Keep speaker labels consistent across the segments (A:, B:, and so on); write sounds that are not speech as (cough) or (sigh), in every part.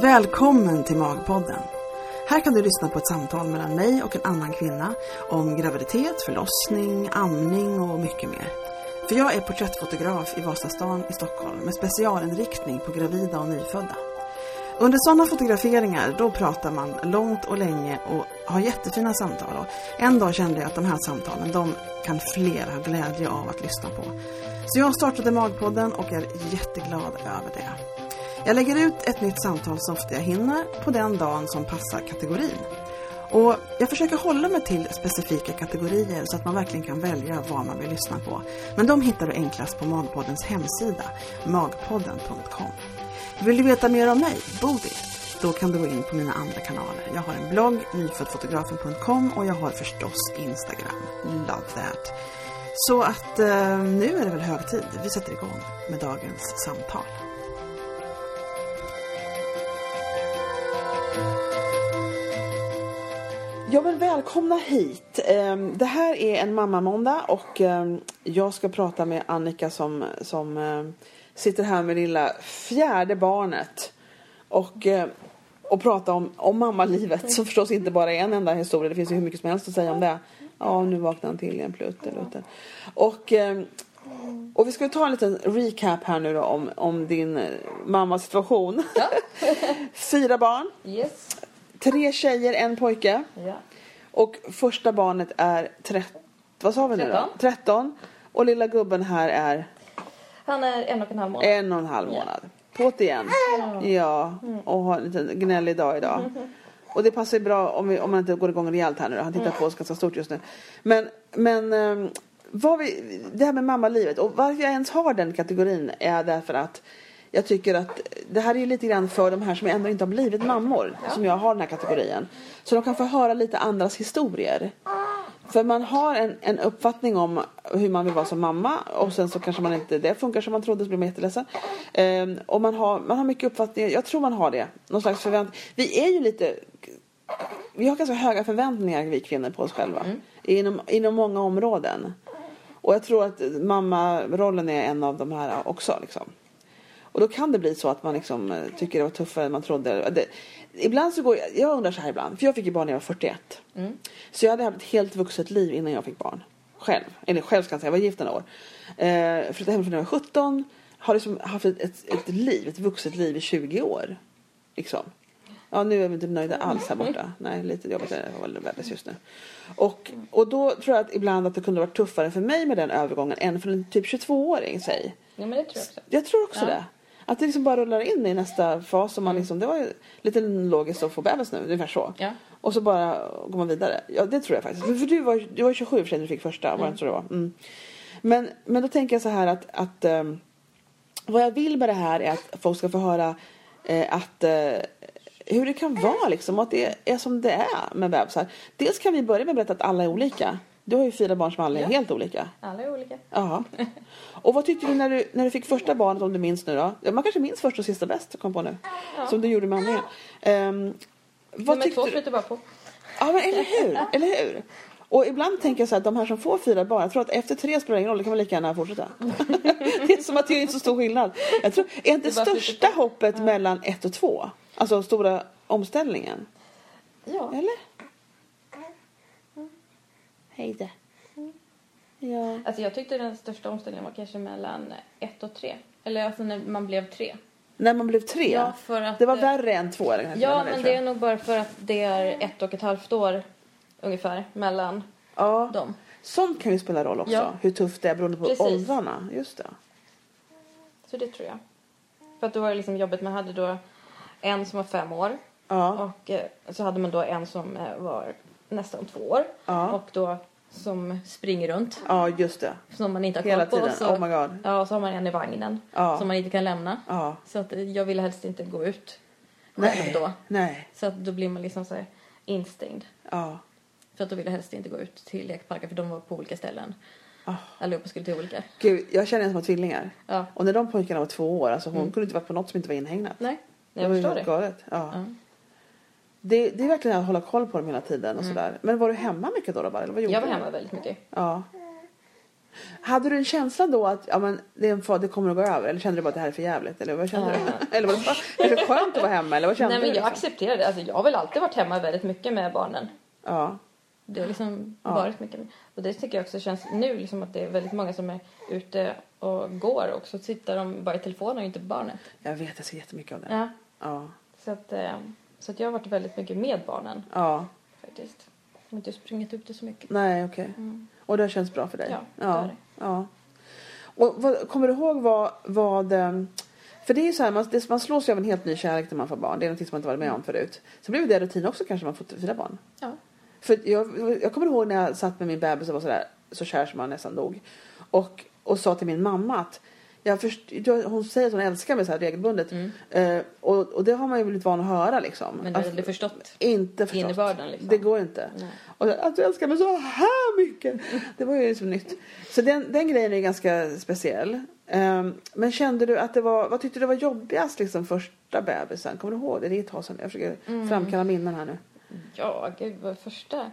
A: Välkommen till Magpodden. Här kan du lyssna på ett samtal mellan mig och en annan kvinna om graviditet, förlossning, amning och mycket mer. För jag är porträttfotograf i Vasastan i Stockholm med specialinriktning på gravida och nyfödda. Under sådana fotograferingar då pratar man långt och länge och har jättefina samtal. Och en dag kände jag att de här samtalen, de kan fler ha glädje av att lyssna på. Så jag startade Magpodden och är jätteglad över det. Jag lägger ut ett nytt samtal så ofta jag hinner på den dagen som passar kategorin. Och jag försöker hålla mig till specifika kategorier så att man verkligen kan välja vad man vill lyssna på. Men de hittar du enklast på Magpoddens hemsida, magpodden.com. Vill du veta mer om mig, Bodil? Då kan du gå in på mina andra kanaler. Jag har en blogg, nyföddfotografen.com och jag har förstås Instagram. Love that! Så att eh, nu är det väl hög tid. Vi sätter igång med dagens samtal. Ja, men välkomna hit. Ehm, Det här är en mammamåndag och ehm, jag ska prata med Annika som, som ehm, sitter här med lilla fjärde barnet och, eh, och prata om, om mammalivet som förstås inte bara är en enda historia. Det finns ju hur mycket som helst att säga om det. Ja, nu vaknade han till igen, pluttelutten. Och, ehm, och vi ska ju ta en liten recap här nu då om, om din eh, mammas situation. (laughs) Fyra barn,
B: Yes.
A: tre tjejer, en pojke.
B: Ja.
A: Och första barnet är 13. Vad sa vi nu då? 13. Och lilla gubben här är
B: Han är en och en halv månad.
A: en och en halv månad. På't igen. Ja. Och har en liten gnällig dag idag. Och det passar ju bra om, vi, om man inte går igång rejält här nu då. Han tittar på oss ganska stort just nu. Men, men ehm, vad vi, det här med mammalivet och varför jag ens har den kategorin är därför att jag tycker att det här är ju lite grann för de här som ändå inte har blivit mammor som jag har den här kategorin. Så de kan få höra lite andras historier. För man har en, en uppfattning om hur man vill vara som mamma och sen så kanske man inte det funkar som man trodde så blir man jätteledsen. Ehm, och man har, man har mycket uppfattningar, jag tror man har det. Någon slags förväntning. Vi är ju lite vi har ganska höga förväntningar vi kvinnor på oss själva. Inom, inom många områden. Och jag tror att mammarollen är en av de här också. Liksom. Och då kan det bli så att man liksom eh, tycker det var tuffare än man trodde. Det, ibland så går jag, jag undrar så här ibland, för jag fick ju barn när jag var 41. Så jag hade haft ett helt vuxet liv innan jag fick barn. Själv, eller själv ska jag säga, jag var gift några år. Eh, flyttade hemifrån när jag var 17. Har liksom haft ett, ett, ett liv, ett vuxet liv i 20 år. Liksom. Ja, nu är vi inte nöjda alls här borta. Nej, lite jobbigt är det Jag var väl värdelös just nu. Och, och då tror jag att ibland att det kunde varit tuffare för mig med den övergången än för en typ 22-åring, säg.
B: ja, men det tror jag också.
A: Jag tror också
B: Ja. Mm.
A: det. Att det liksom bara rullar in i nästa fas. Och man liksom, det var ju lite logiskt att få bebis nu, ungefär så.
B: Ja.
A: Och så bara går man vidare. Ja, det tror jag faktiskt. För för du var, du var 27 i och för sig när du fick första, var det inte så det var? Mm. Men, men då tänker jag så här att, att ehm, vad jag vill med det här är att folk ska få höra eh, att eh, hur det kan vara liksom, och att det är som det är med bebisar. Dels kan vi börja med att berätta att alla är olika. Du har ju fyra barn som alla är
B: Ja.
A: helt olika.
B: Alla är olika.
A: Ja. Och vad tyckte du när, du när du fick första barnet om du minns nu då? Ja, Man kanske minns första och sista bäst kom på nu. Som du gjorde med Annika. Ehm, vad
B: Nummer
A: tyckte
B: två
A: du?
B: flyter bara på.
A: Ja men eller hur, eller hur? Och ibland tänker jag så här att de här som får fyra barn, jag tror att efter tre spelar det ingen roll, det kan man lika gärna fortsätta. (laughs) det är som att det är inte så stor skillnad. Jag tror, är inte
B: Det bara flyter
A: största hoppet mellan ett och två, alltså stora omställningen?
B: Ja.
A: Eller? Hej det. Ja.
B: Alltså jag tyckte den största omställningen var kanske mellan ett och tre. Eller alltså när man blev tre.
A: När man blev tre?
B: Ja, för att- eh,
A: det var värre än två år. den här
B: Ja,
A: tiden,
B: men
A: tror
B: det
A: jag.
B: är nog bara för att det är ett och ett halvt år ungefär mellan
A: Ja.
B: dem.
A: Sånt kan ju spela roll också.
B: Ja.
A: Hur tufft det är beroende på
B: Precis.
A: åldrarna. Just det.
B: Så det tror jag. För att då var det liksom jobbigt. Man hade då en som var fem år.
A: Ja.
B: Och eh, så hade man då en som eh, var nästan två år.
A: Ja.
B: Och då som springer runt.
A: ja, just det.
B: Som man inte har
A: Hela
B: koll på.
A: tiden.
B: och Så,
A: Oh my god.
B: ja, och så har man en i vagnen.
A: Ja.
B: Som man inte kan lämna.
A: Ja.
B: Så att eh, jag ville helst inte gå ut själv
A: Nej.
B: då.
A: Nej.
B: Så att då blir man liksom så här instängd.
A: Ja.
B: För att då ville jag helst inte gå ut till lekparker för de var på olika ställen.
A: Ah.
B: Allihopa skulle till olika.
A: Gud, jag känner en som har tvillingar.
B: Ja.
A: Och när de pojkarna var två år, alltså hon kunde inte vara på något som inte var inhägnat.
B: Nej,
A: det
B: Mm. jag
A: var ju
B: förstår
A: helt
B: det.
A: galet. Ja.
B: Ja.
A: Det, det är verkligen att hålla koll på dem hela tiden och sådär. Men var du hemma mycket då? då bara? Eller vad gjorde
B: Jag Mm. var
A: du?
B: hemma väldigt mycket.
A: Ja. Hade du en känsla då att ja, men det, är en fad, det kommer att gå över? Eller kände du bara att det här är för jävligt? Eller vad kände du? eller var det, bara, är det skönt att vara hemma? Eller vad kände
B: Nej men
A: du?
B: jag
A: liksom?
B: accepterar det. Alltså, jag har väl alltid varit hemma väldigt mycket med barnen.
A: Ja.
B: Det har liksom
A: Ja.
B: varit mycket. Och det tycker jag också känns nu liksom att det är väldigt många som är ute och går och så sitter de bara i telefonen och inte på barnet.
A: Jag vet, jag ser jättemycket av det.
B: Ja.
A: Ja.
B: Så, att, eh, så att jag har varit väldigt mycket med barnen
A: Ja.
B: faktiskt. Jag har inte sprungit ut det så mycket.
A: Nej, okej.
B: Mm.
A: Och det har känts bra för dig?
B: Ja, det har
A: ja.
B: det.
A: ja. Och vad, kommer du ihåg vad... vad ehm, för det är ju så här, man, det, man slås ju av en helt ny kärlek när man får barn. Det är någonting som man inte varit med om förut. Så blev det rutin också kanske när man får fyra barn.
B: Ja.
A: För jag, jag kommer ihåg när jag satt med min bebis och var sådär, så kär som man nästan dog. Och, och sa till min mamma att jag först, jag, hon säger att hon älskar mig så här regelbundet. Eh, och, och det har man ju blivit van att höra liksom.
B: Mm. Men du har
A: Att-
B: aldrig förstått.
A: inte förstått.
B: Innebörden, liksom.
A: Det går inte.
B: Nej.
A: Och att du älskar mig så här
B: (laughs)
A: mycket. Det var ju liksom nytt. Så den, den grejen är ganska speciell. Ehm, men kände du att det var, vad tyckte du var jobbigast liksom första bebisen? Kommer du ihåg det? Det är ett tag sedan. Jag försöker
B: Mm.
A: framkalla minnen här nu.
B: Ja, gud vad första.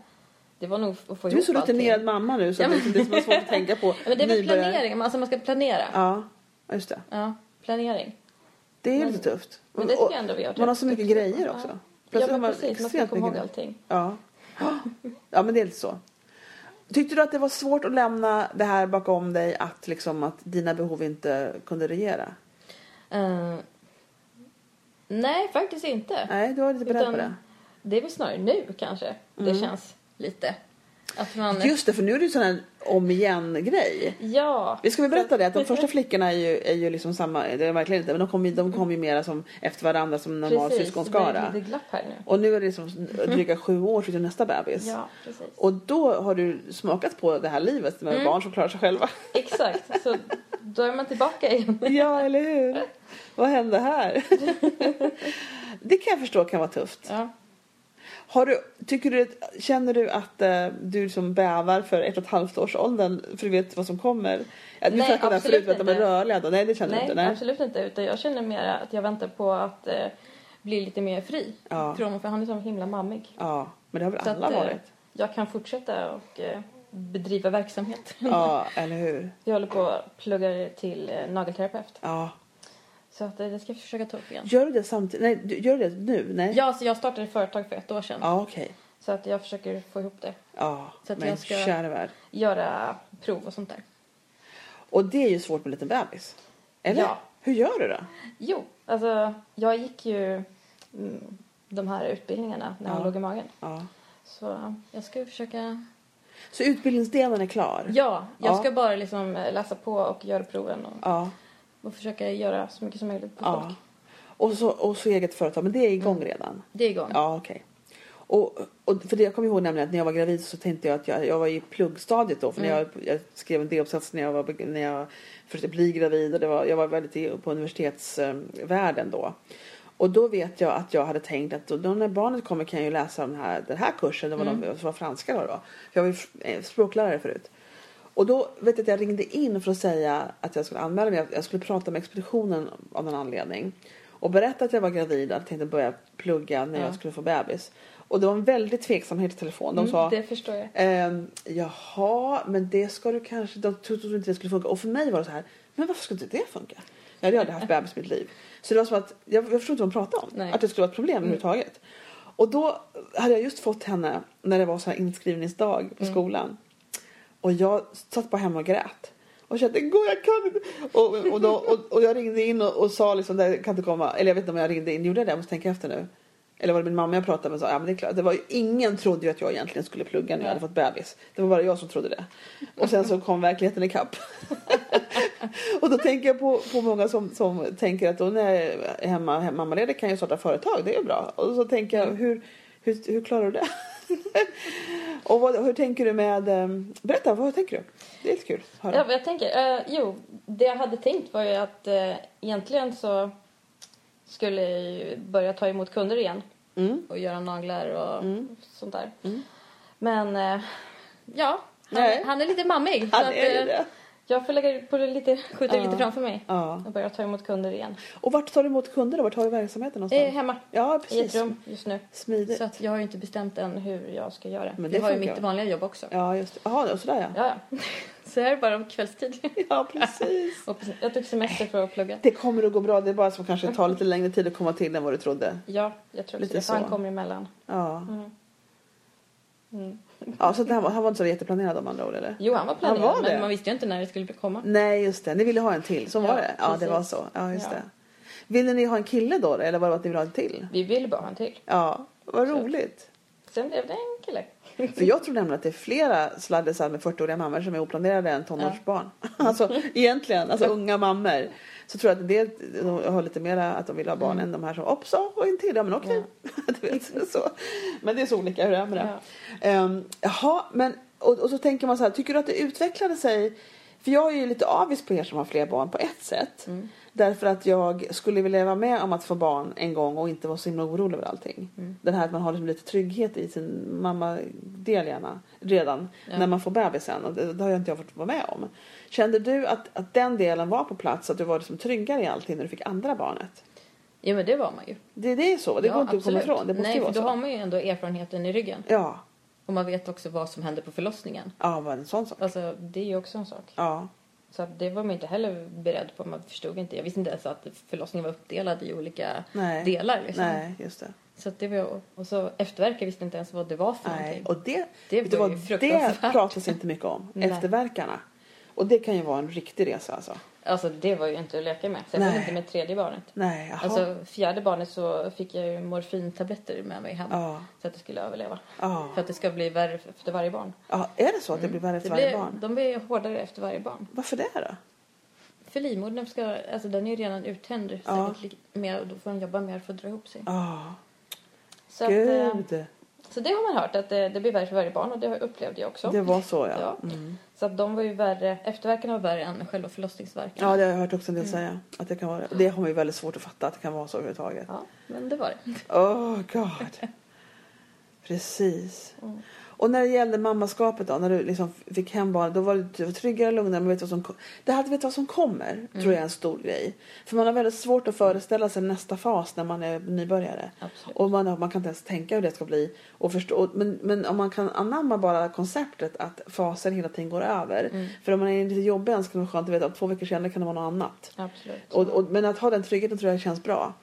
B: Det var nog att få
A: Du är så
B: ihop allting.
A: rutinerad mamma nu så det, är liksom, det är som är svårt att tänka på.
B: (laughs) Ja, men det är väl
A: Nybörjare.
B: planering. Alltså man ska planera. Ja,
A: Ja, ja, just det.
B: planering.
A: Det är ju
B: Men-
A: lite tufft.
B: men det tycker jag ändå vi har
A: man har så mycket
B: duktiga på.
A: grejer
B: Ja.
A: också.
B: Ja,
A: har
B: men precis. Man ska
A: extremt
B: komma
A: mycket
B: ihåg
A: grejer.
B: allting.
A: Ja. ja, men det är lite så. Tyckte du att det var svårt att lämna det här bakom dig att, liksom, att dina behov inte kunde regera?
B: Eh, nej, faktiskt inte.
A: Nej, du var lite beredd
B: Utan
A: på det.
B: det är väl snarare nu kanske det känns lite. Att man...
A: Mm. Just det, för nu är det ju sån här om igen-grej.
B: Ja.
A: Vi ska väl berätta det att de första flickorna är ju, är ju liksom samma, det är de verkligen inte, men de kommer ju de kom ju mera som efter varandra som normal
B: Det blir
A: syskonskara.
B: lite glapp här nu.
A: Och nu är det liksom dryga sju år till nästa bebis.
B: Ja, precis.
A: Och då har du smakat på det här livet med
B: Mm.
A: barn som klarar sig själva.
B: Exakt. Så då är man tillbaka igen.
A: Ja, eller hur? Vad hände här? Det kan jag förstå kan vara tufft.
B: Ja.
A: Har du, tycker du, att- känner du att eh, du som bävar för ett och ett halvt års åldern för du vet vad som kommer? Ja, vi
B: Nej,
A: snackade om det här
B: absolut
A: förut, att de är
B: inte.
A: rörliga. Då. Nej, det känner du
B: Nej,
A: inte? Nej,
B: absolut inte. Utan jag känner mer att jag väntar på att eh, bli lite mer fri.
A: Ja.
B: Från, för han är så himla mammig.
A: Ja, men det har väl
B: Så
A: alla
B: att, eh,
A: varit?
B: Jag kan fortsätta och eh, bedriva verksamhet. (laughs)
A: Ja, eller hur?
B: Jag håller på att plugga till eh, nagelterapeut.
A: Ja.
B: Så att, eh, det ska jag försöka ta upp igen.
A: Gör du det samtidigt? Nej, du- gör du det nu? Nej?
B: Ja, så jag startade ett företag för ett år sedan.
A: Ja, okej.
B: Så att jag försöker få ihop det.
A: Ja,
B: Så att
A: men
B: jag ska-
A: kära värld.
B: Göra prov och sånt där.
A: Och det är ju svårt med en liten bebis. Eller?
B: Ja.
A: Hur gör du då?
B: Jo, alltså jag gick ju mm, de här utbildningarna när han
A: Ja.
B: låg i magen.
A: Ja.
B: Så jag ska ju försöka...
A: Så utbildningsdelen är klar?
B: Ja, jag
A: Ja.
B: ska bara liksom eh, läsa på och göra proven och,
A: Ja.
B: och försöka göra så mycket som möjligt på
A: ja.
B: folk.
A: Och, så, och så eget företag, men det är igång redan?
B: Det är igång.
A: Ja, okej. Och, och för det jag kommer ihåg nämligen att när jag var gravid så tänkte jag att jag, jag var i pluggstadiet då. För när jag, jag skrev en D-uppsats när jag, var, när jag försökte bli gravid och det var, jag var väldigt i- på universitetsvärlden då. Och då vet jag att jag hade tänkt att då, då när barnet kommer kan jag ju läsa den här, den här kursen, det var de som var franska då. då. För jag var ju f- eh, språklärare förut. Och då vet jag att jag ringde in för att säga att jag skulle anmäla mig. Jag skulle prata med expeditionen av någon anledning. Och berätta att jag var gravid och att jag tänkte börja plugga när jag skulle få bebis. Och det var en väldigt tveksamhet i telefon. De sa
B: Mm, Det förstår jag.
A: Ehm, jaha, men det ska du kanske... De trodde inte det skulle funka. Och för mig var det så här, men varför skulle inte det funka? Jag hade ju aldrig haft bebis i mitt liv. Så det var som att, jag, jag förstod inte vad de pratade om.
B: Nej. Mm.
A: Att det skulle vara ett problem överhuvudtaget. Och då hade jag just fått henne när det var så här inskrivningsdag på
B: Mm.
A: skolan. Och jag satt bara hemma och grät. Och kände, det går, jag kan inte. Och, och, då, och, och jag ringde in och, och sa liksom, det här kan inte komma. Eller jag vet inte om jag ringde in, gjorde jag det? Jag måste tänka efter nu. Eller var det min mamma jag pratade med som sa, ja men det är klart. Det var ju, ingen trodde ju att jag egentligen skulle plugga när jag hade fått bebis. Det var bara jag som trodde det. Och sen så kom verkligheten ikapp. (laughs) och då tänker jag på, på många som, som tänker att då när jag är hemma, hemma mammaledig kan jag starta företag, det är ju bra. Och så tänker jag, hur, hur, hur klarar du det? (laughs) och vad, hur tänker du med, ehm, berätta, vad tänker du? Det är lite kul att höra.
B: Ja, vad jag tänker. eh, jo, det jag hade tänkt var ju att eh, egentligen så skulle jag ju börja ta emot kunder igen
A: Mm.
B: och göra naglar och
A: Mm.
B: sånt där.
A: Mm.
B: Men eh, ja, han,
A: Nej.
B: han är lite mammig. så
A: Han
B: att,
A: är ju
B: eh,
A: det.
B: Jag får lägga på det lite, skjuta det
A: Ja.
B: lite framför mig
A: Ja.
B: och börja ta emot kunder igen.
A: Och vart tar du emot kunder då? Vart har du verksamheten
B: Jag är
A: någonstans?
B: hemma
A: Ja,
B: Eh, i ett
A: precis.
B: rum just nu.
A: Smidigt.
B: Så att jag har ju inte bestämt än hur jag ska göra.
A: Men
B: jag
A: det
B: har ju
A: funkar
B: mitt
A: väl.
B: vanliga jobb också. (laughs)
A: Ja, just det. Jaha, sådär ja.
B: Ja, ja. Så det här är bara om kvällstid.
A: Ja, precis.
B: Och precis- jag tog semester för att plugga.
A: Det kommer att gå bra. Det är bara som kanske tar lite längre tid att komma till än vad du trodde.
B: Ja, jag tror
A: Lite
B: också det.
A: så.
B: Så. Han kommer emellan.
A: Ja,
B: Mm.
A: ja så det här var, han var inte så jätteplanerad om andra ord eller?
B: Jo, han var planerad,
A: var det?
B: men man visste ju inte när det skulle komma.
A: Nej, just det. Ni ville ha en till. Så
B: Ja,
A: var det. Ja, det
B: precis.
A: var så. Ja, just
B: Ja.
A: det. Ville ni ha en kille då eller var det att ni ville ha en till?
B: Vi ville bara ha en till.
A: Ja, vad
B: Absolut.
A: roligt.
B: Sen blev det en kille.
A: För jag tror nämligen att det är flera sladdisar med 40-åriga mammor som är oplanerade än tonårsbarn. (laughs) Alltså egentligen, alltså unga mammor. Så tror jag att det de har lite mer att de vill ha barn än de här som också och en till. Ja men okej. (laughs) du vet, så. Men det är så olika hur det är med det. Ehm, jaha, men och, och så tänker man så här, tycker du att det utvecklade sig? För jag är ju lite avis på er som har fler barn på ett sätt.
B: Mm.
A: Därför att jag skulle vilja vara med om att få barn en gång och inte vara så himla orolig över allting.
B: Mm.
A: Det här att man har liksom lite trygghet i sin mammadel gärna redan
B: Ja.
A: när man får bebisen och det, det har jag inte jag fått vara med om. Kände du att, att den delen var på plats, att du var liksom tryggare i allting när du fick andra barnet?
B: Ja, men det var man ju.
A: Det, det är så, det
B: ja,
A: går inte att komma ifrån. Det måste
B: Nej,
A: ju
B: för
A: vara
B: då
A: så.
B: har man ju ändå erfarenheten i ryggen.
A: Ja,
B: Och man vet också vad som händer på förlossningen.
A: ja, vad en sån sak.
B: Alltså, det är ju också en sak.
A: Ja,
B: Så att det var man inte heller beredd på. Man förstod inte. Jag visste inte ens att förlossningen var uppdelad i olika
A: nej.
B: delar. Liksom.
A: Nej, just det.
B: Så att det var, och så efterverkar visste inte ens vad det var för
A: Nej.
B: någonting.
A: Och det,
B: Det
A: vet du
B: var
A: vad,
B: ju
A: det
B: fruktansvärt.
A: pratas inte mycket om.
B: (laughs) Nej.
A: Efterverkarna. Och det kan ju vara en riktig resa alltså.
B: Alltså det var ju inte att leka med. Så jag
A: Nej.
B: var inte med tredje barnet.
A: Nej, jaha.
B: Alltså fjärde barnet så fick jag ju morfintabletter med mig hem.
A: Ja.
B: Så att det skulle överleva.
A: Ja.
B: För att det ska bli värre för efter varje barn.
A: ja, är det så att det blir värre
B: Mm. Det
A: för varje
B: blir,
A: barn?
B: De blir hårdare efter varje barn.
A: Varför det då?
B: För livmodern ska, alltså den är ju redan uttänd
A: Ja.
B: säkert li- mer och då får den jobba mer för att dra ihop sig.
A: Ja,
B: Så, att, eh,
A: gud.
B: så det har man hört att det, det blir värre för varje barn och det har- upplevde jag också.
A: Det var så ja.
B: Ja.
A: Mm.
B: Så att de var ju värre, efterverkarna var värre än själva förlossningsverken.
A: Ja, det har jag hört också en del
B: Mm.
A: säga. Att det kan vara det. Det har man ju väldigt svårt att fatta att det kan vara så överhuvudtaget.
B: Ja, men det var det.
A: Oh god. Precis.
B: Mm.
A: Och när det gällde mammaskapet då, när du liksom fick hem barnet, då var du du var tryggare och lugnare. Man vet vad som, ko- det här vet vad som kommer,
B: Mm.
A: tror jag är en stor grej. För man har väldigt svårt att föreställa sig nästa fas när man är nybörjare.
B: Absolut.
A: Och man, har- man kan inte ens tänka hur det ska bli. Och förstå, och- men, men om man kan anamma bara konceptet att faser hela tiden går över.
B: Mm.
A: För om man är lite jobbig än så kan det vara skönt att veta att två veckor senare kan det vara något annat.
B: Absolut.
A: Och, och, men att ha den tryggheten tror jag känns bra.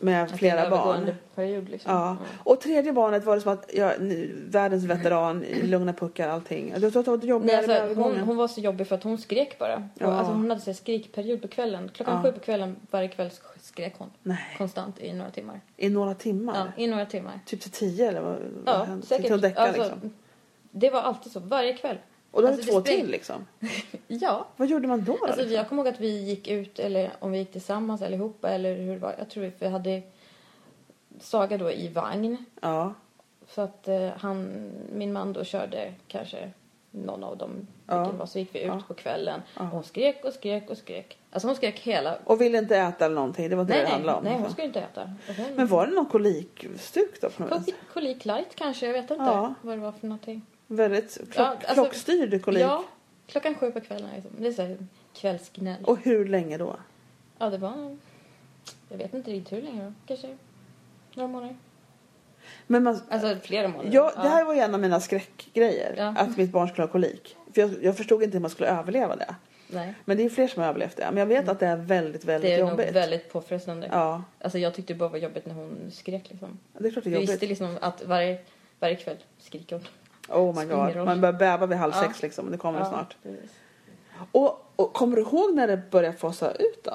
A: Med
B: Att
A: flera
B: det är en
A: barn.
B: övergående Period, liksom.
A: Ja.
B: Mm.
A: Och tredje barnet var det som att jag, nu, världens veteran, lugna puckar allting. Jag tror att det var jobbigare
B: Nej,
A: med
B: alltså, hon,
A: övergången.
B: hon var så jobbig för att hon skrek bara.
A: Ja.
B: Och, alltså, hon hade så här skrikperiod på kvällen. Klockan
A: Ja.
B: sju på kvällen varje kväll sk- skrek hon.
A: Nej,
B: Konstant i några timmar.
A: i några timmar.
B: Ja, I några timmar.
A: Typ till tio eller vad, vad
B: Ja,
A: hände? Till att
B: säkert.
A: däcka
B: Alltså,
A: liksom.
B: Det var alltid så, varje kväll.
A: Och då är det
B: alltså, det
A: två
B: spräng-
A: till liksom.
B: Ja.
A: Vad gjorde man då? då,
B: Alltså,
A: liksom?
B: jag kommer ihåg att vi gick ut, eller om vi gick tillsammans allihopa, eller hur det var. Jag tror att vi hade Saga då i vagn.
A: Ja,
B: Så att eh, han, min man då körde kanske någon av dem, vilken
A: Ja.
B: det var, så gick vi ut
A: Ja.
B: på kvällen.
A: Ja.
B: Och hon skrek och skrek och skrek. Alltså hon skrek hela...
A: och ville inte äta eller någonting. Det var inte
B: Nej,
A: det det
B: nej,
A: handlade om.
B: nej, hon
A: liksom.
B: skulle inte äta. Och Hon...
A: Men var det någon kolikstuk då på något vis?
B: Kolik- Kolik light kanske, jag vet inte
A: Ja.
B: vad det var för någonting.
A: Väldigt klock,
B: Ja, alltså-
A: klockstyrd kolik.
B: Ja, klockan sju på kvällen liksom. Det är så här kvällsgnäll.
A: Och hur länge då?
B: Ja, det var... Jag vet inte riktigt hur länge då. Kanske några månader.
A: Men man,
B: Alltså flera månader.
A: Ja, det här var ju en av mina skräckgrejer.
B: Ja.
A: Att mitt barn skulle ha kolik. För jag, jag förstod inte hur man skulle överleva det.
B: Nej,
A: Men det är fler som har överlevt det. Men jag vet att det är väldigt, väldigt
B: Mm. det är
A: jobbigt.
B: nog väldigt påfrestande.
A: Ja,
B: Alltså jag tyckte det bara var jobbigt när hon skrek liksom.
A: det är klart det är
B: Jag visste
A: jobbigt.
B: liksom att varje, varje kväll skriker hon.
A: Oh my
B: spelar
A: god.
B: roll.
A: Man börjar bäva vid halv
B: Ja.
A: sex liksom. Det kommer
B: Ja,
A: snart.
B: precis.
A: Och, och kommer du ihåg när det börjar fasa ut då?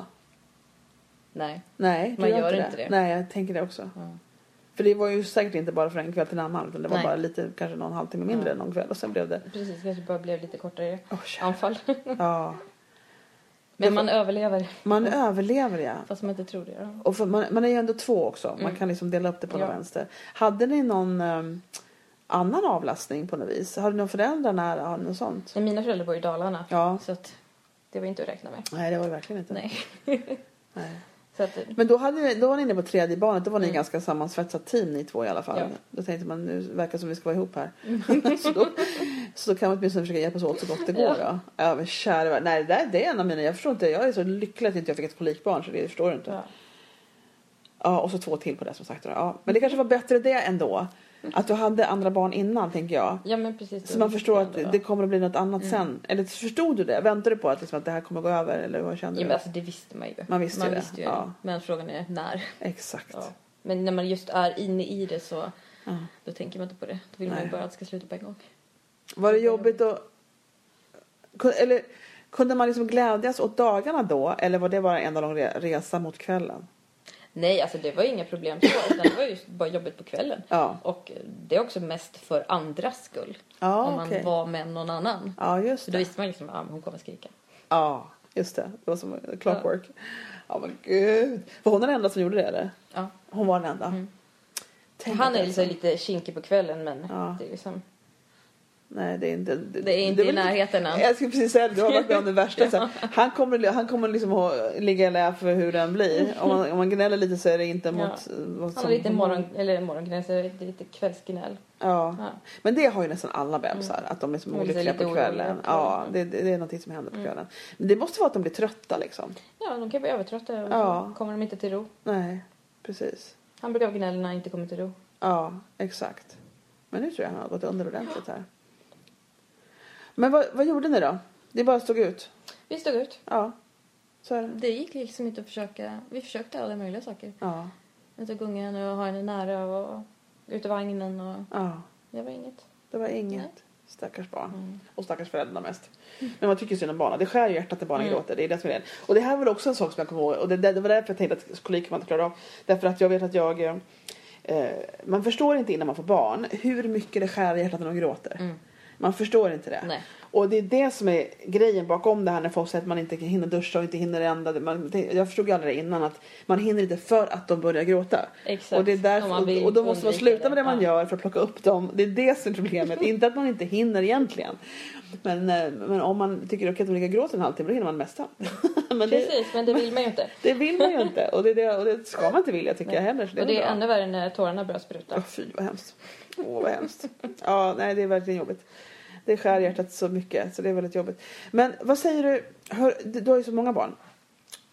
B: Nej.
A: Nej, du
B: Man gör inte det.
A: Nej, jag tänker det också.
B: Ja.
A: För det var ju säkert inte bara från en kväll till en annan. Utan det var
B: Nej.
A: bara lite, kanske någon halvtimme mindre
B: Ja.
A: någon kväll. Och sen blev det...
B: Precis, kanske bara blev lite kortare
A: Åh, shit.
B: (laughs) anfall.
A: ja.
B: Men man överlever.
A: Man överlever ja.
B: Fast man inte tror det. Ja.
A: Och för, man, man är ju ändå två också. Man
B: Mm.
A: kan liksom dela upp det på något
B: Ja.
A: vänster. Hade ni någon ehm, annan avlastning på något vis? Har ni någon föräldrar nära? Har ni något sånt?
B: Men mina föräldrar bor i Dalarna.
A: Ja.
B: Så att det var inte att räkna med.
A: Nej, det var det verkligen inte.
B: Nej.
A: Nej.
B: Så att,
A: Men då, hade, ni- då var ni inne på tredje barnet. Då var ni
B: Mm.
A: ganska sammansvetsat team ni två i alla fall.
B: Ja. Mm.
A: Då tänkte man nu verkar som vi ska vara ihop här. (laughs) så, då, så då kan vi åtminstone försöka hjälpas åt så gott det går.
B: Ja.
A: Då. Ja, men kära värld. Nej, det, där, det är en av mina. Jag förstår inte. Jag är så lycklig att inte jag fick ett kolikbarn så det förstår du inte.
B: ja.
A: Ja, och så två till på det som sagt. då. Ja, men det kanske var bättre det ändå. Att du hade andra barn innan tänker jag.
B: Ja men precis.
A: Så man förstår att
B: ändå.
A: det kommer att bli något
B: Mm.
A: annat sen. Eller förstod du det? Väntade du på att, liksom, att det här kommer gå över? Eller vad kände
B: Ja, men
A: du?
B: alltså det visste man ju.
A: Man visste ju det, ja.
B: Men frågan är när.
A: Exakt.
B: Ja. Men när man just är inne i det så
A: Ja.
B: då tänker man inte på det. Då vill man
A: Nej.
B: ju bara att det ska sluta på en gång.
A: Var det jobbigt att... Kun- Eller kunde man liksom glädjas åt dagarna då? Eller var det bara en enda lång re- resa mot kvällen?
B: Nej, alltså det var ju inga problem så. Utan det var ju just bara jobbigt på kvällen.
A: Ja,
B: Och det är också mest för andras skull. om
A: ja
B: man
A: okej.
B: var med någon annan.
A: Ja, just
B: Så då
A: det.
B: visste man liksom att ah, men hon kommer skrika.
A: Ja, just det. Det var som clockwork. Ja, men gud. Var hon den enda som gjorde det? Eller?
B: Ja.
A: Hon var den enda.
B: Mm.
A: Tänk
B: Han
A: att
B: är
A: det
B: liksom
A: så.
B: lite kinkig på kvällen men
A: Ja.
B: det är liksom...
A: Nej, det är inte... Det,
B: Det är inte
A: väl
B: i närheten än.
A: Jag skulle precis säga det. Du har varit med om det
B: (laughs)
A: värsta. så här. Han kommer, han kommer liksom att ligga i lä för hur den blir. Om man, om man gnäller lite så är det inte mot... vad
B: Han
A: som-
B: har lite morgon, eller morgongnäll, så det är lite kvällsgnäll.
A: Ja.
B: Ja.
A: Men det har ju nästan alla bebisar, att de är liksom
B: Mm. De är lite
A: olyckliga på
B: oroliga
A: kvällen.
B: på
A: Ja,
B: kvällen. Mm.
A: det, det det är någonting som händer på kvällen. Men det måste vara att de blir trötta liksom.
B: ja, de kan ju bli övertrötta och
A: Ja.
B: så kommer de inte till ro.
A: Nej, precis.
B: Han brukar gnälla när han inte kommer till ro.
A: Ja, exakt. Men nu tror jag han har gått under ordentligt här. Men vad, vad gjorde ni då? Det bara stod ut?
B: Vi stod ut.
A: Ja, så är det.
B: Det gick liksom inte att försöka. Vi försökte alla möjliga saker.
A: Ja,
B: Jag tog ungen och ha henne nära och ut i vagnen och
A: ja.
B: det var inget.
A: Det var inget.
B: Nej.
A: Stackars barn.
B: Mm.
A: Och stackars föräldrar mest. Men man tycker synd om barnen. Det skär ju hjärtat när barnen
B: Mm.
A: gråter. Det är det som är det. Och det här var också en sak som jag kommer ihåg. Och det, det, det var därför jag tänkte att kolik man inte klarar av. Därför att jag vet att jag... eh, Eh, man förstår inte innan man får barn hur mycket det skär i hjärtat när de gråter.
B: Mm.
A: Man förstår inte det.
B: Nej.
A: Och det är det som är grejen bakom det här när folk säger att man inte hinner duscha och inte hinner ändra. Man, jag förstod ju aldrig det innan att man hinner inte för att de börjar gråta.
B: Exakt.
A: Och, det är
B: Om
A: därför,
B: man vill
A: och, och då måste man
B: undvika
A: sluta med det
B: det.
A: man
B: Ja.
A: gör för att plocka upp dem. Det är det som är problemet.
B: (laughs)
A: inte att man inte hinner egentligen. Men, eh, men om man tycker okej att man ligger och gråter en halvtimme då hinner man det mesta. (laughs) men det,
B: Precis, men det vill man ju inte.
A: det vill man ju inte. Och det, är det, och det ska man inte vilja tycker jag heller. Så (laughs) det
B: och det är
A: bra.
B: ännu värre när tårarna
A: Ja,
B: börjar spruta.
A: fy vad hemskt. Åh vad hemskt. Ja, nej det är verkligen jobbigt. Det skär
B: Mm.
A: hjärtat så mycket så det är väldigt jobbigt. Men vad säger du, hör, du du har ju så många barn.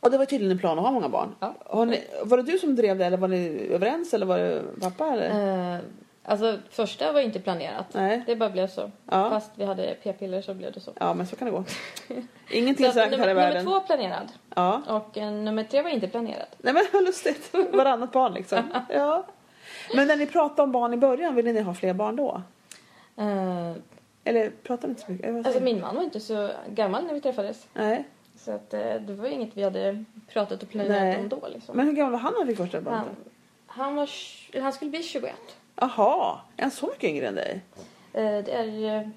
A: Och det var tydligen en plan att ha många barn.
B: Ja.
A: Har ni, var det du som drev det eller var ni överens eller var det pappa eller?
B: Eh, alltså första var inte planerat.
A: Nej.
B: Det bara blev så.
A: Ja.
B: Fast vi hade p-piller så blev det så.
A: Ja men så kan
B: (laughs)
A: det gå. Ingenting
B: Så
A: är
B: att
A: säkert här i
B: nummer, nummer
A: världen.
B: två planerad
A: Ja.
B: och eh, nummer tre var inte planerad.
A: Nej men vad lustigt. Varannat barn
B: (laughs)
A: liksom. Ja. Men när ni pratade om barn i början, ville ni ha fler barn då?
B: Eh,
A: Eller pratade ni inte så mycket? Eller vad
B: alltså
A: säger
B: min man var inte så gammal när vi träffades.
A: du? Nej.
B: Så att, eh, det var ju inget vi hade pratat och planerat
A: Nej.
B: om då. Liksom.
A: Men hur gammal var han när han fick första barnet? då?
B: han, han, var, tj- eller han skulle bli 21.
A: Jaha, är han så mycket yngre än dig?
B: Eh, det är, eh, är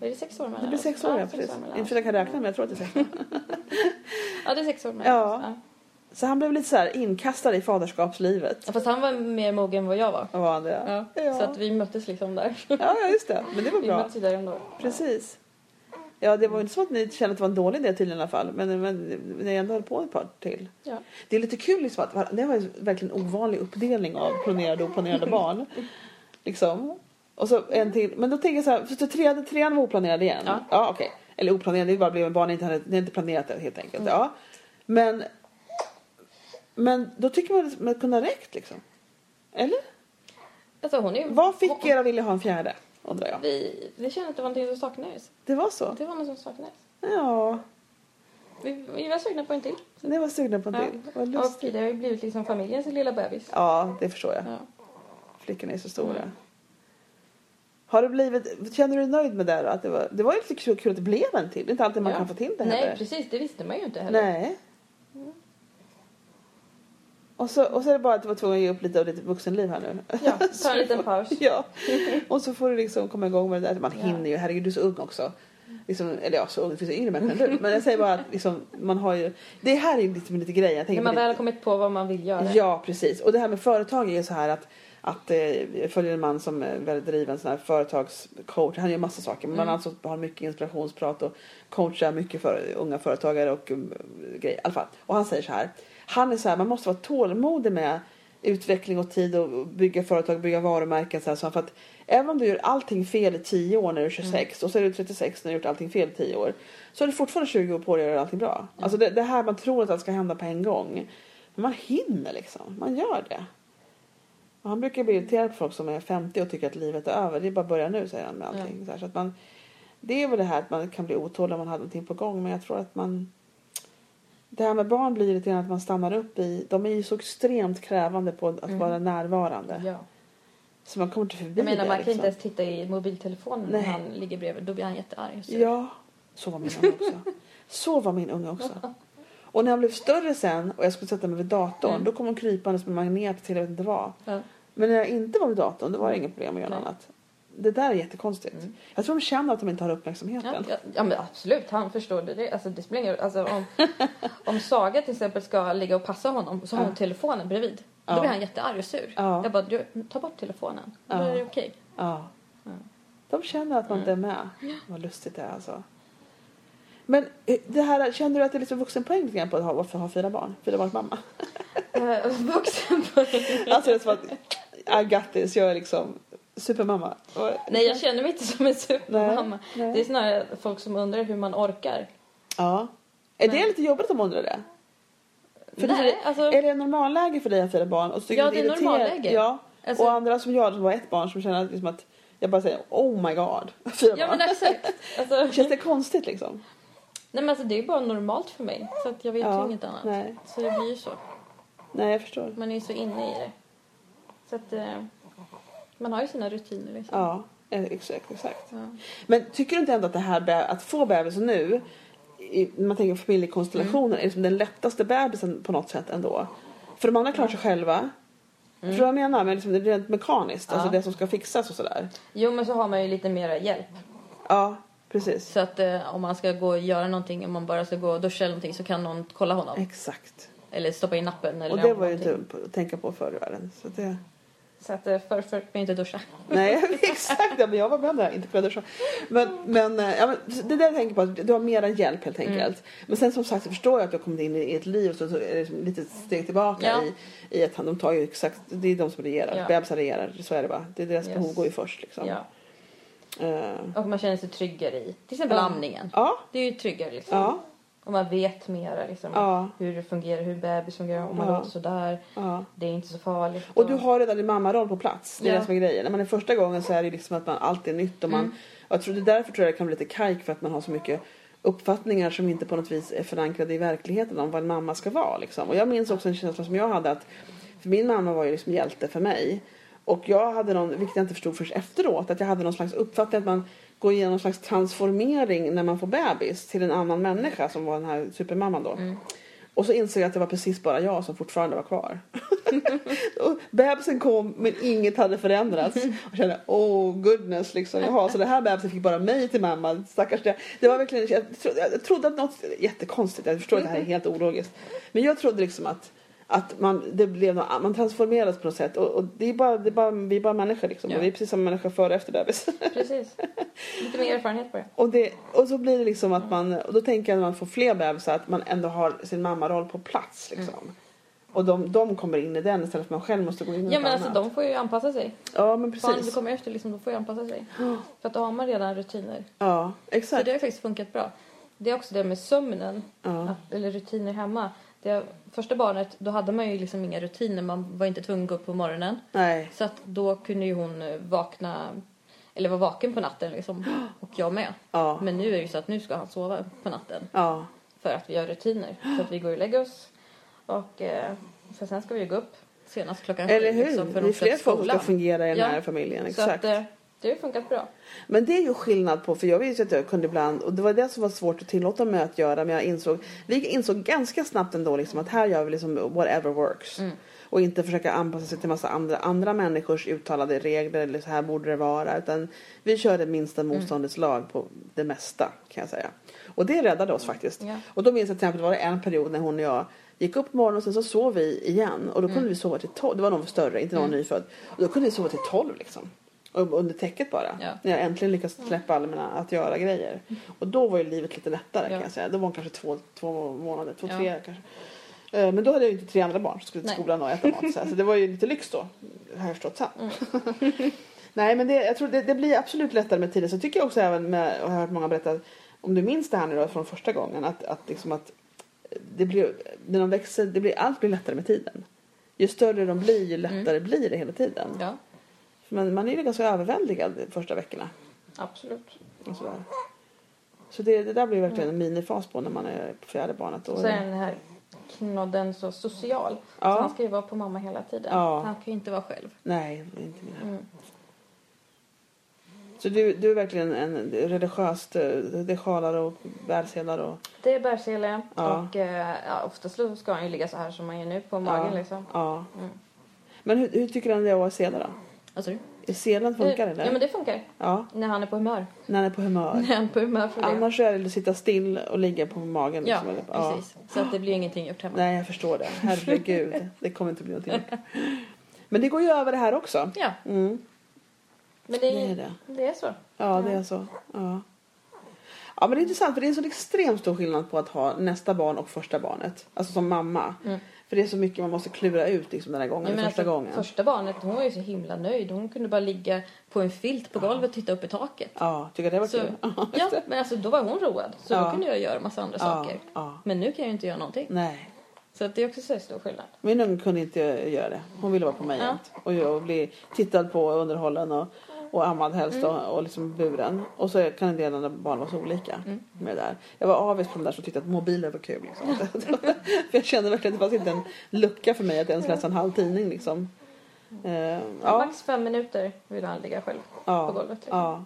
B: det sex år mellan
A: Det blir
B: oss?
A: sex år, ja,
B: sex
A: precis.
B: mellan
A: Inte
B: oss.
A: för att jag kan räkna men jag tror att det är sex.
B: Ja, det är sex år mellan
A: Ja.
B: oss.
A: Så han blev lite så här inkastad i faderskapslivet.
B: Ja. Fast han var mer mogen än vad jag var.
A: Vad var han det?
B: Ja.
A: Ja.
B: Så att vi möttes liksom där.
A: Ja, ja, just det. Men det var
B: (laughs) vi
A: bra.
B: möttes ju där ändå.
A: Precis. Ja, det var ju inte så att ni kände att det var en dålig idé tydligen i alla fall. Men, men ni ändå höll på ett par till.
B: Ja.
A: Det är lite kul liksom att var- det var ju verkligen en ovanlig uppdelning av planerade och planerade
B: (laughs)
A: barn. Liksom. Och så en till. Men då tänker jag så här, för trean, trean var oplanerad igen.
B: Ja.
A: ja okej. Eller oplanerad, det bara blev en barn, ni inte hade, ni hade inte planerat det helt
B: Mm.
A: enkelt. Ja. Men, men då tycker man att det kunde ha räckt liksom. Eller?
B: Alltså hon är ju...
A: Vad fick er att vilja ha en fjärde? Undrar jag.
B: Vi, vi kände att det var någonting som saknades.
A: Det var så?
B: Det var något som saknades.
A: Ja.
B: Vi, vi var sugna på en till.
A: Ni var sugna på en
B: Ja.
A: till. Vad
B: Och
A: lustigt.
B: det har ju blivit liksom familjens lilla bebis.
A: Ja, det förstår jag.
B: Ja.
A: Flickorna är så stora.
B: Mm.
A: Har det blivit, känner du dig nöjd med det då? Att det, var, det var ju lite kul, kul att det blev en till. Det är inte alltid man
B: Ja.
A: kan få till det
B: Nej,
A: heller.
B: precis. Det visste man ju inte heller.
A: Nej. Och så, och så är det bara att du var tvungen att ge upp lite av ditt vuxenliv här nu. (laughs)
B: Ja, ta en liten paus. (laughs)
A: Ja. Och så får du liksom komma igång med det där. Man
B: Ja.
A: hinner ju, herregud du är så ung också. Liksom, eller ja, så ung, det finns ju yngre människor än du. Men jag säger bara att liksom, man har ju, det här är ju liksom lite, lite grejen. Jag tänker
B: När man
A: på det-
B: väl har kommit på vad man vill göra.
A: Ja, precis. Och det här med företag är ju så här att, att eh, jag följer en man som är väldigt driven sån här företagscoach. Han gör massa saker. Men han alltså har mycket inspirationsprat och coachar mycket för unga företagare och um, grejer. I alla fall. Och han säger så här. Han är så här, man måste vara tålmodig med utveckling och tid och bygga företag, bygga varumärken. Så här, så här, för att även om du gör allting fel i 10 år
B: Mm.
A: när du är 26 och så är du 36 när du har gjort allting fel i 10 år. Så är du fortfarande 20 år på dig att göra allting bra.
B: Mm.
A: Alltså det, det här man tror att allt ska hända på en gång. Men man hinner liksom. Man gör det. Och han brukar bli irriterad på folk som är 50 och tycker att livet är över. Det är bara att börja nu säger han med allting. Så här, så att man, det är väl det här att man kan bli otålig om man har någonting på gång. Men jag tror att man... Det här med barn blir lite grann att man stannar upp i... De är ju så extremt krävande på att vara närvarande.
B: Mm. Ja.
A: Så man kommer inte förbi
B: Jag menar
A: det.
B: man kan
A: Liksom.
B: inte ens titta i mobiltelefonen
A: Nej.
B: när han ligger bredvid. Då blir han jättearg. Så.
A: Ja, så var min unge också. Så var min unge också. Och när han blev större sen och jag skulle sätta mig vid datorn
B: Mm.
A: då kom hon krypandes med magnet till jag vet inte vad.
B: Ja.
A: Men när jag inte var vid datorn då var det inget problem att göra
B: Nej. Mm.
A: något annat. Det där är jättekonstigt. Jag tror de känner att de inte har uppmärksamheten.
B: Ja, ja, ja men absolut, han förstår det. det. Alltså, det spelar ingen roll. Alltså,
A: (laughs)
B: om, om Saga till exempel ska ligga och passa honom så har hon telefonen bredvid. Då
A: Ja.
B: blir han jättearg och sur.
A: Ja.
B: Jag bara, du, ta bort telefonen. Då
A: Ja.
B: är det okej.
A: Ja. De känner att man inte är
B: Mm.
A: med. Vad lustigt det är alltså. Men eh, det här, känner du att det är lite vuxenpoäng lite grann på att ha, varför ha fyra barn? Fyra barns
B: (laughs)
A: mamma.
B: Eh, (laughs) Vuxen på-
A: Alltså det är som att, I got this, jag är liksom supermamma. Och-
B: Nej, jag känner mig inte som en supermamma.
A: Nej, nej.
B: Det är snarare folk som undrar hur man orkar.
A: Ja. Är
B: Men-
A: det lite jobbigt om undrar det? För det
B: Nej, alltså,
A: Är det normalläge för dig att fira barn? Och så tycker
B: Ja,
A: du
B: det är
A: irriterar-
B: normalläge.
A: Ja.
B: Alltså-
A: Och andra som jag som var ett barn som känner liksom att jag bara säger oh my god. (laughs) Fyra
B: ja,
A: barn.
B: men
A: (laughs)
B: exakt. Alltså,
A: Känns det konstigt liksom?
B: nej, men alltså, det är bara normalt för mig. Så att jag vet
A: Ja,
B: ju inget annat.
A: nej.
B: Så det blir ju så.
A: Nej jag förstår.
B: Man är ju så inne i det. Så att eh, man har ju sina rutiner liksom.
A: Ja eh, exakt exakt.
B: Ja.
A: Men tycker du inte ändå att det här be- att få bebis nu i, när man tänker på familjekonstellationen
B: Mm.
A: är liksom den lättaste bebisen på något sätt ändå. För de andra klarar sig själva. Förstår du vad jag menar? Men liksom, det är rent mekaniskt. Alltså
B: Ja.
A: det som ska fixas och sådär.
B: Jo men så har man ju lite mera hjälp.
A: Ja precis.
B: Så att eh, om man ska gå och göra någonting, om man bara ska gå och duscha eller någonting så kan någon kolla honom.
A: Exakt.
B: Eller stoppa in nappen eller
A: Och det var ju
B: någonting.
A: inte att tänka på förr i världen. Så det...
B: (laughs) Så att eh, förr fick man ju inte duscha.
A: Nej, (laughs) exakt. Ja, men jag var med där, inte på så. Men, men, eh, ja, men det där jag tänker på, att du har mera hjälp helt
B: Mm.
A: enkelt. Men sen som sagt så förstår jag att du har kommit in i ett liv och så, så är det liksom lite steg tillbaka
B: Ja.
A: i, i att han- de tar ju exakt, det är de som regerar.
B: Ja.
A: Bebisar regerar, så är det bara. Det är deras
B: Yes.
A: behov går ju först liksom.
B: Ja.
A: Eh,
B: Och man känner sig tryggare i till exempel
A: Ja.
B: amningen.
A: ja,
B: Det är ju tryggare liksom.
A: ja,
B: Och man vet mera liksom,
A: Ja.
B: hur det fungerar, hur bebis fungerar, om man
A: Ja.
B: låter sådär.
A: ja.
B: Det är inte så farligt.
A: Och du har redan din mammaroll på plats. Det är
B: Ja.
A: det som är grejen. När man är första gången så är det ju liksom att man alltid är nytt. Och man, och jag tror det är därför tror jag det kan bli lite kajk för att man har så mycket uppfattningar som inte på något vis är förankrade i verkligheten om vad en mamma ska vara. Liksom. Och jag minns också en känsla som jag hade att för min mamma var ju liksom hjälte för mig. Och jag hade någon, vilket jag inte förstod först efteråt, att jag hade någon slags uppfattning att man går igenom någon slags transformering när man får bebis till en annan människa som var den här supermamman då. Och så insåg jag att det var precis bara jag som fortfarande var kvar. (laughs) och bebisen kom men inget hade förändrats. Och kände oh goodness liksom. Jaha, så det här bebisen fick bara mig till mamma. Stackars det. Det var verkligen, jag, tro, jag trodde att något jättekonstigt. Jag förstår att det här är helt ologiskt. Men jag trodde liksom att att man, det blev något, man transformeras på något sätt. Och, och det är bara, det är bara, vi är bara människor liksom.
B: Ja.
A: Och vi är precis som människor före och efter bebis.
B: Precis. Lite mer erfarenhet på det.
A: Och, det, och så blir det liksom att man, och då tänker jag när man får fler bebisar att man ändå har sin mammaroll på plats liksom.
B: Mm.
A: Och de, de kommer in i den istället för att man själv måste gå in i något
B: Ja men alltså
A: annat.
B: de får ju anpassa sig.
A: Ja men
B: Barnen som
A: precis.
B: kommer efter liksom, de får ju anpassa sig. För att då har man redan rutiner.
A: Ja
B: Så
A: exakt.
B: det har ju faktiskt funkat bra. Det är också det med sömnen,
A: Ja.
B: att, eller rutiner hemma. Det, första barnet, då hade man ju liksom inga rutiner. Man var inte tvungen att gå upp på morgonen.
A: Nej.
B: Så att då kunde ju hon eh, vakna, eller vara vaken på natten liksom. Och jag med.
A: Ja.
B: Men nu är det ju så att nu ska han sova på natten.
A: Ja.
B: För att vi har rutiner. Så att vi går och lägger oss. Och eh, för sen ska vi ju gå upp senast klockan sju,
A: Eller hur?
B: liksom, för
A: det är
B: de ska till
A: fler folk som ska
B: skolan.
A: fungera i den
B: Ja.
A: här familjen.
B: Så
A: Exakt.
B: att, eh, det har ju funkat bra.
A: Men det är ju skillnad på, för jag vet ju att jag kunde ibland, och det var det som var svårt att tillåta mig att göra, men jag insåg, vi insåg ganska snabbt ändå liksom att här gör vi liksom whatever works. Och inte försöka anpassa sig till massa andra, andra människors uttalade regler eller så här borde det vara. Utan vi körde minsta motståndets lag på det mesta kan jag säga. Och det räddade oss faktiskt.
B: Ja.
A: Och då minns jag till exempel, det var en period när hon och jag gick upp på morgonen och sen så sov vi igen. Och då kunde vi sova till tolv, det var någon större, inte någon nyfödd. Och då kunde vi sova till tolv liksom. Och- Under täcket bara.
B: Ja.
A: När jag äntligen lyckats släppa alla mina att göra grejer. Och då var ju livet lite lättare
B: Ja.
A: kan jag säga. Då var hon kanske två, två månader, två,
B: Ja.
A: tre kanske. Eh, Men då hade jag ju inte tre andra barn som skulle till
B: Nej.
A: skolan och äta mat. Så, här. så det var ju lite lyx då. Har jag förstått sen.
B: Mm.
A: (laughs) Nej men det, jag tror det, det blir absolut lättare med tiden. Så tycker jag också även med, och jag har hört många berätta, om du minns det här nu då från första gången, att, att liksom att det blir, när de växer, det blir, allt blir lättare med tiden. ju större de blir ju lättare blir det hela tiden.
B: Mm. Ja,
A: Men man är ju ganska överväldigad de första veckorna.
B: absolut.
A: Och sådär. Liksom. Så det, det där blir verkligen en minifas på när man är på fjärde barnet. Och,
B: Och Mm. så är den här knodden så social. Så han
A: ja,
B: ska ju vara på mamma hela tiden.
A: Ja.
B: Han kan ju inte vara själv.
A: nej, inte mina.
B: Mm.
A: Så du, du är verkligen en religiöst, eh, det är sjalar och bärselar och
B: Det är bärsele
A: Ja.
B: och eh, ja, oftast så ska han ju ligga så här som han gör nu på magen liksom.
A: ja.
B: Mm.
A: Men hur, hur tycker du om det att vara sela då?
B: Vad sa du?
A: Är selen funkar
B: Eh,
A: eller?
B: Ja men det funkar.
A: Ja,
B: När han är på humör.
A: när den är på humör.
B: När han är på humör för det.
A: Annars är det att sitta still och ligga på magen.
B: ja,
A: liksom, eller-
B: precis. Så att det blir ingenting gjort hemma.
A: Nej, jag förstår det. Herregud, det kommer inte bli någonting. Men det går ju över det här också.
B: Ja,
A: Mm,
B: men
A: det är
B: det,
A: det.
B: det är så.
A: Ja, det är så. Ja. ja, men det är intressant för det är en så extremt stor skillnad på att ha nästa barn och första barnet. Alltså som mamma.
B: Mm.
A: För det är så mycket man måste klura ut liksom, den här gången,
B: Jag menar,
A: första
B: alltså,
A: gången.
B: första barnet, hon var ju så himla nöjd. Hon kunde bara ligga på en filt på golvet och titta upp i taket.
A: Ja, tycker jag det var
B: Så,
A: kul.
B: ja, men alltså då var hon road. Så
A: Ja.
B: då kunde jag göra massa andra saker.
A: Ja, ja.
B: Men nu kan jag ju inte göra någonting.
A: Nej,
B: Så att det är också så här stor skillnad.
A: min unge kunde inte göra det. Hon ville vara på mig
B: Ja.
A: jämt. Och jag bli tittad på och underhållen och, och ammad helst och, och liksom buren. Och så kan en del andra barn vara så olika med det där. Jag var avis på de där som tyckte att mobiler var kul. Liksom. (laughs) för jag kände verkligen att det fanns inte en lucka för mig att ens läsa en halv tidning liksom. Eh, ja,
B: Max fem minuter vill han ligga själv på
A: ja,
B: golvet. typ.
A: ja.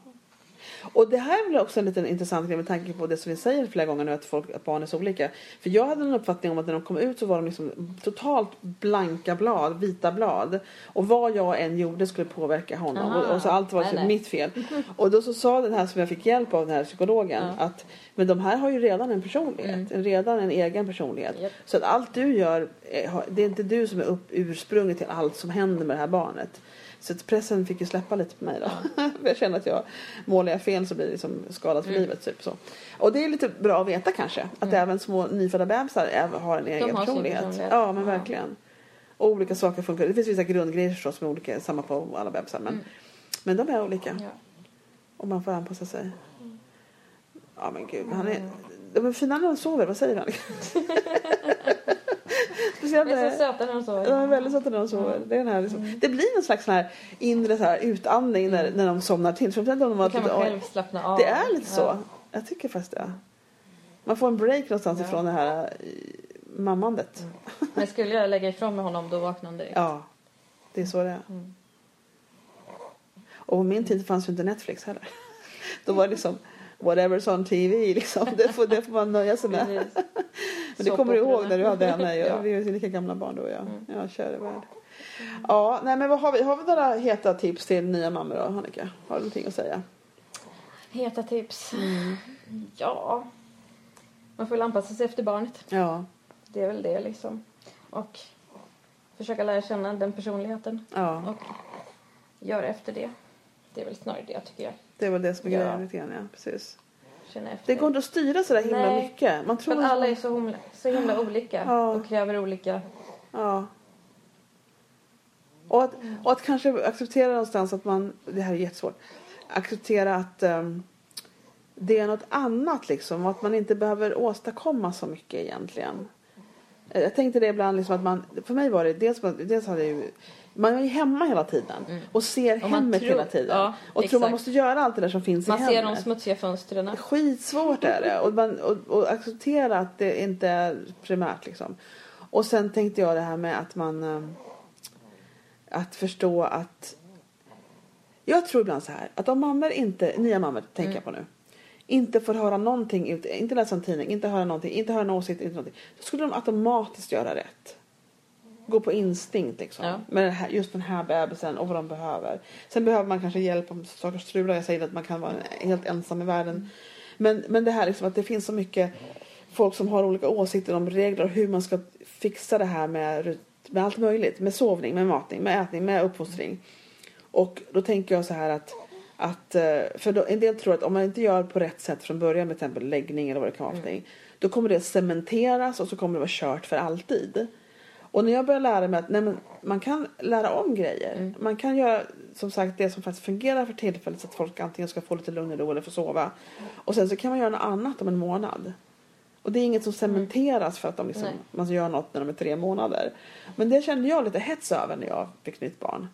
A: Och det här är väl också en liten intressant grej med tanke på det som vi säger flera gånger nu att, folk, att barn är så olika. För jag hade en uppfattning om att när de kom ut så var de liksom totalt blanka blad, vita blad. Och vad jag än gjorde skulle påverka honom.
B: Aha.
A: Och, och så allt var
B: Nej,
A: så-
B: nej.
A: mitt
B: (laughs)
A: fel. Och då så sa den här som jag fick hjälp av den här psykologen
B: Ja. Mm.
A: att men de här har ju redan en personlighet, en- redan en egen personlighet.
B: Japp.
A: Så att allt du gör, eh, har- det är inte du som är upp, ursprunget till allt som händer med det här barnet. Så att pressen fick ju släppa lite på mig då. (laughs) För jag känner att jag målar jag fel så blir det liksom skadat för
B: Mm.
A: livet. Typ så. Och det är lite bra att veta kanske. Att även små nyfödda bebisar även har en egen
B: har sin
A: personlighet.
B: personlighet.
A: Ja men
B: Ja.
A: verkligen. Och olika saker funkar. Det finns vissa grundgrejer förstås som är olika, samma på alla bebisar. Men,
B: Mm.
A: men de är olika.
B: Ja.
A: Och man får anpassa sig.
B: Mm.
A: Ja men gud, han är... De är fina när de sover, vad
B: (laughs)
A: säger han? Speciellt
B: De är så
A: när...
B: söta när de sover. Mm.
A: De är väldigt söta när de sover. Det, är den här liksom. det blir en slags sån här inre så här utandning när, när de somnar till. Speciellt om de
B: Då
A: har
B: Mm.
A: typ-
B: kan man själv slappna av.
A: Det är lite så.
B: Ja.
A: Jag tycker faktiskt det. Man får en break någonstans
B: Ja.
A: ifrån det här eh, mammandet.
B: Men skulle jag lägga ifrån mig honom då vaknar han direkt.
A: Ja, det är så det är.
B: Mm.
A: Och på min tid fanns ju inte Netflix heller. (laughs) Då var det liksom whatever's on TV liksom. Det får, det får man nöja sig
B: (laughs)
A: med.
B: Precis.
A: Men det kommer du ihåg
B: Såpoperorna.
A: när du hade henne. Jag,
B: (laughs) Ja.
A: Vi är ju lika gamla barn då jag.
B: Mm.
A: Ja, käre värld. Ja, nej men vad har vi? Har vi några heta tips till nya mammor då, Annika? Har du någonting att säga?
B: Heta tips.
A: Mm.
B: Ja. Man får väl anpassa sig efter barnet.
A: Ja,
B: Det är väl det liksom. Och försöka lära känna den personligheten.
A: ja.
B: Och göra efter det. Det är väl snarare det jag tycker jag
A: Det är väl det som är
B: Ja.
A: grejen lite grann, ja. Precis.
B: känner efter.
A: Det går inte att styra sådär himla
B: Nej.
A: mycket. Man tror
B: För att
A: att-
B: alla är så himla, så himla olika
A: Ja.
B: och kräver olika.
A: Ja. Och att, och att kanske acceptera någonstans att man, det här är jättesvårt, acceptera att ehm, det är något annat liksom och att man inte behöver åstadkomma så mycket egentligen. Eh, Jag tänkte det ibland liksom att man, för mig var det dels, dels hade jag ju, man är ju hemma hela tiden och ser
B: Mm. Och man
A: hemmet
B: tror-
A: hela tiden
B: ja,
A: och tror man
B: exakt.
A: måste göra allt det där som finns i
B: Man
A: hemmet.
B: ser de smutsiga fönstren.
A: Skitsvårt är det. Och, man, och, och acceptera att det inte är primärt liksom. Och sen tänkte jag det här med att man... eh, Att förstå att... Jag tror ibland så här att om mammor inte, nya mammor tänker jag på nu. Inte får höra någonting, ut, inte läsa en tidning, inte höra någonting, inte höra någon åsikt, inte någonting. Då skulle de automatiskt göra rätt. Gå på instinkt liksom.
B: Ja.
A: Med den här, just den här bebisen och vad de behöver. Sen behöver man kanske hjälp om saker strular. Jag säger att man kan vara helt ensam i världen. Men, men det här liksom att det finns så mycket folk som har olika åsikter om regler och hur man ska fixa det här med, rut- med allt möjligt. Med sovning, med matning, med ätning, med uppfostring. Och då tänker jag så här att, att eh, för då, en del tror att om man inte gör på rätt sätt från början med till exempel läggning eller vad det kan vara för någonting, då kommer det cementeras och så kommer det vara kört för alltid. Och när jag började lära mig att nej, men man kan lära om grejer. Man kan göra som sagt det som faktiskt fungerar för tillfället så att folk antingen ska få lite lugn och ro eller få sova. Och sen så kan man göra något annat om en månad. Och det är inget som cementeras för att de liksom,
B: Nej.
A: man gör något när de är tre månader. Men det kände jag lite hets över när jag fick nytt barn.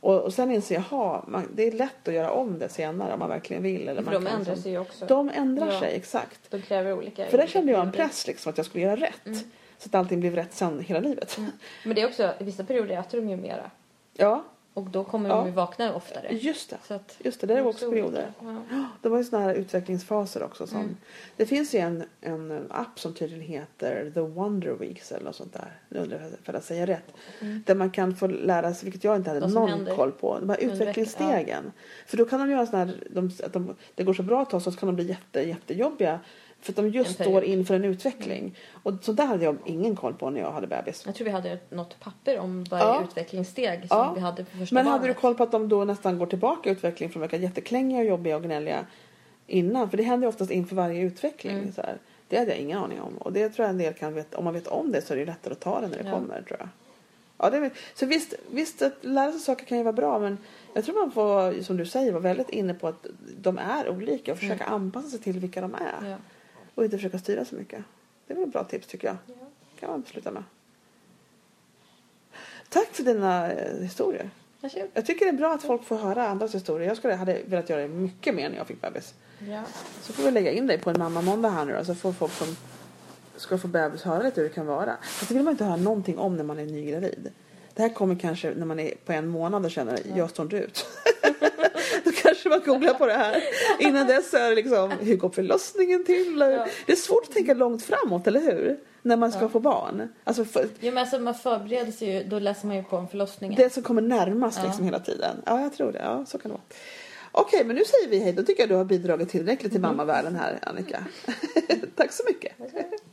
A: Och, och sen inser jag, jaha, man, det är lätt att göra om det senare om man verkligen vill. Eller
B: För
A: man
B: de
A: kan
B: ändrar
A: liksom-
B: sig ju också.
A: De ändrar
B: Ja.
A: sig, exakt.
B: De kräver olika.
A: För där
B: olika
A: kände jag en
B: perioder.
A: press liksom att jag skulle göra rätt.
B: Mm.
A: Så att allting blev rätt sen hela livet.
B: Men det är också, i vissa perioder äter de ju mera.
A: Ja,
B: Och då kommer
A: Ja.
B: de ju vakna oftare.
A: just det.
B: Så att,
A: Just det, det var
B: är
A: också
B: olika.
A: perioder.
B: Ja.
A: Ja, Det var ju såna här utvecklingsfaser också. Som,
B: Mm.
A: Det finns ju en, en app som tydligen heter The Wonder Weeks eller något sånt där. Nu undrar jag för att säga rätt.
B: Mm.
A: Där man kan få lära sig, vilket jag inte hade
B: Vad som
A: någon
B: händer.
A: koll på, de här
B: Under veckan,
A: utvecklingsstegen. För då kan de göra såna här, de, att de, det går så bra ett tag så kan de bli jätte, jättejobbiga. För att de just
B: En period.
A: står inför en utveckling. Och så där hade jag ingen koll på när jag hade bebis.
B: Jag tror vi hade något papper om varje
A: Ja.
B: utvecklingssteg som
A: Ja.
B: vi hade på första
A: Men hade du
B: barnet.
A: koll på att de då nästan går tillbaka i utveckling från att verka jätteklängiga och jobbiga och gnälliga innan? För det händer ju oftast inför varje utveckling.
B: Mm.
A: Så här. Det hade jag ingen aning om. Och det tror jag en del kan veta. Om man vet om det så är det ju lättare att ta det när det
B: Ja.
A: kommer tror jag. Ja, det är, väl- så visst, visst, att lära sig saker kan ju vara bra men jag tror man får, som du säger, vara väldigt inne på att de är olika och försöka anpassa sig till vilka de är.
B: Mm. Ja.
A: Och inte försöka styra så mycket. Det är väl ett bra tips tycker jag.
B: Ja.
A: kan man sluta med. Tack för dina eh, historier.
B: Varsågod.
A: Jag tycker det är bra att folk får höra andras historier. Jag skulle hade velat göra det mycket mer när jag fick bebis.
B: Ja.
A: Så får vi lägga in dig på en mamma måndag här nu då, så får folk som ska få bebis höra lite hur det kan vara. Fast det vill man inte höra någonting om när man är nygravid. Det här kommer kanske när man är på en månad och känner jag står inte ut. (laughs) Då kanske man googlar på det här. Innan dess så är det liksom hur går förlossningen till?
B: Ja.
A: Det är svårt att tänka långt framåt, eller hur? När man ska
B: Ja.
A: få barn. Alltså, för,
B: Jo, men alltså man förbereder sig ju, då läser man ju på om förlossningen.
A: det som kommer närmast
B: Ja.
A: liksom hela tiden. Ja, jag tror det. Ja, så kan det vara. Okej, men nu säger vi hej. Då tycker jag du har bidragit tillräckligt till mammavärlden här, Annika. Mm-hmm. (laughs) Tack så mycket.
B: Varsågod.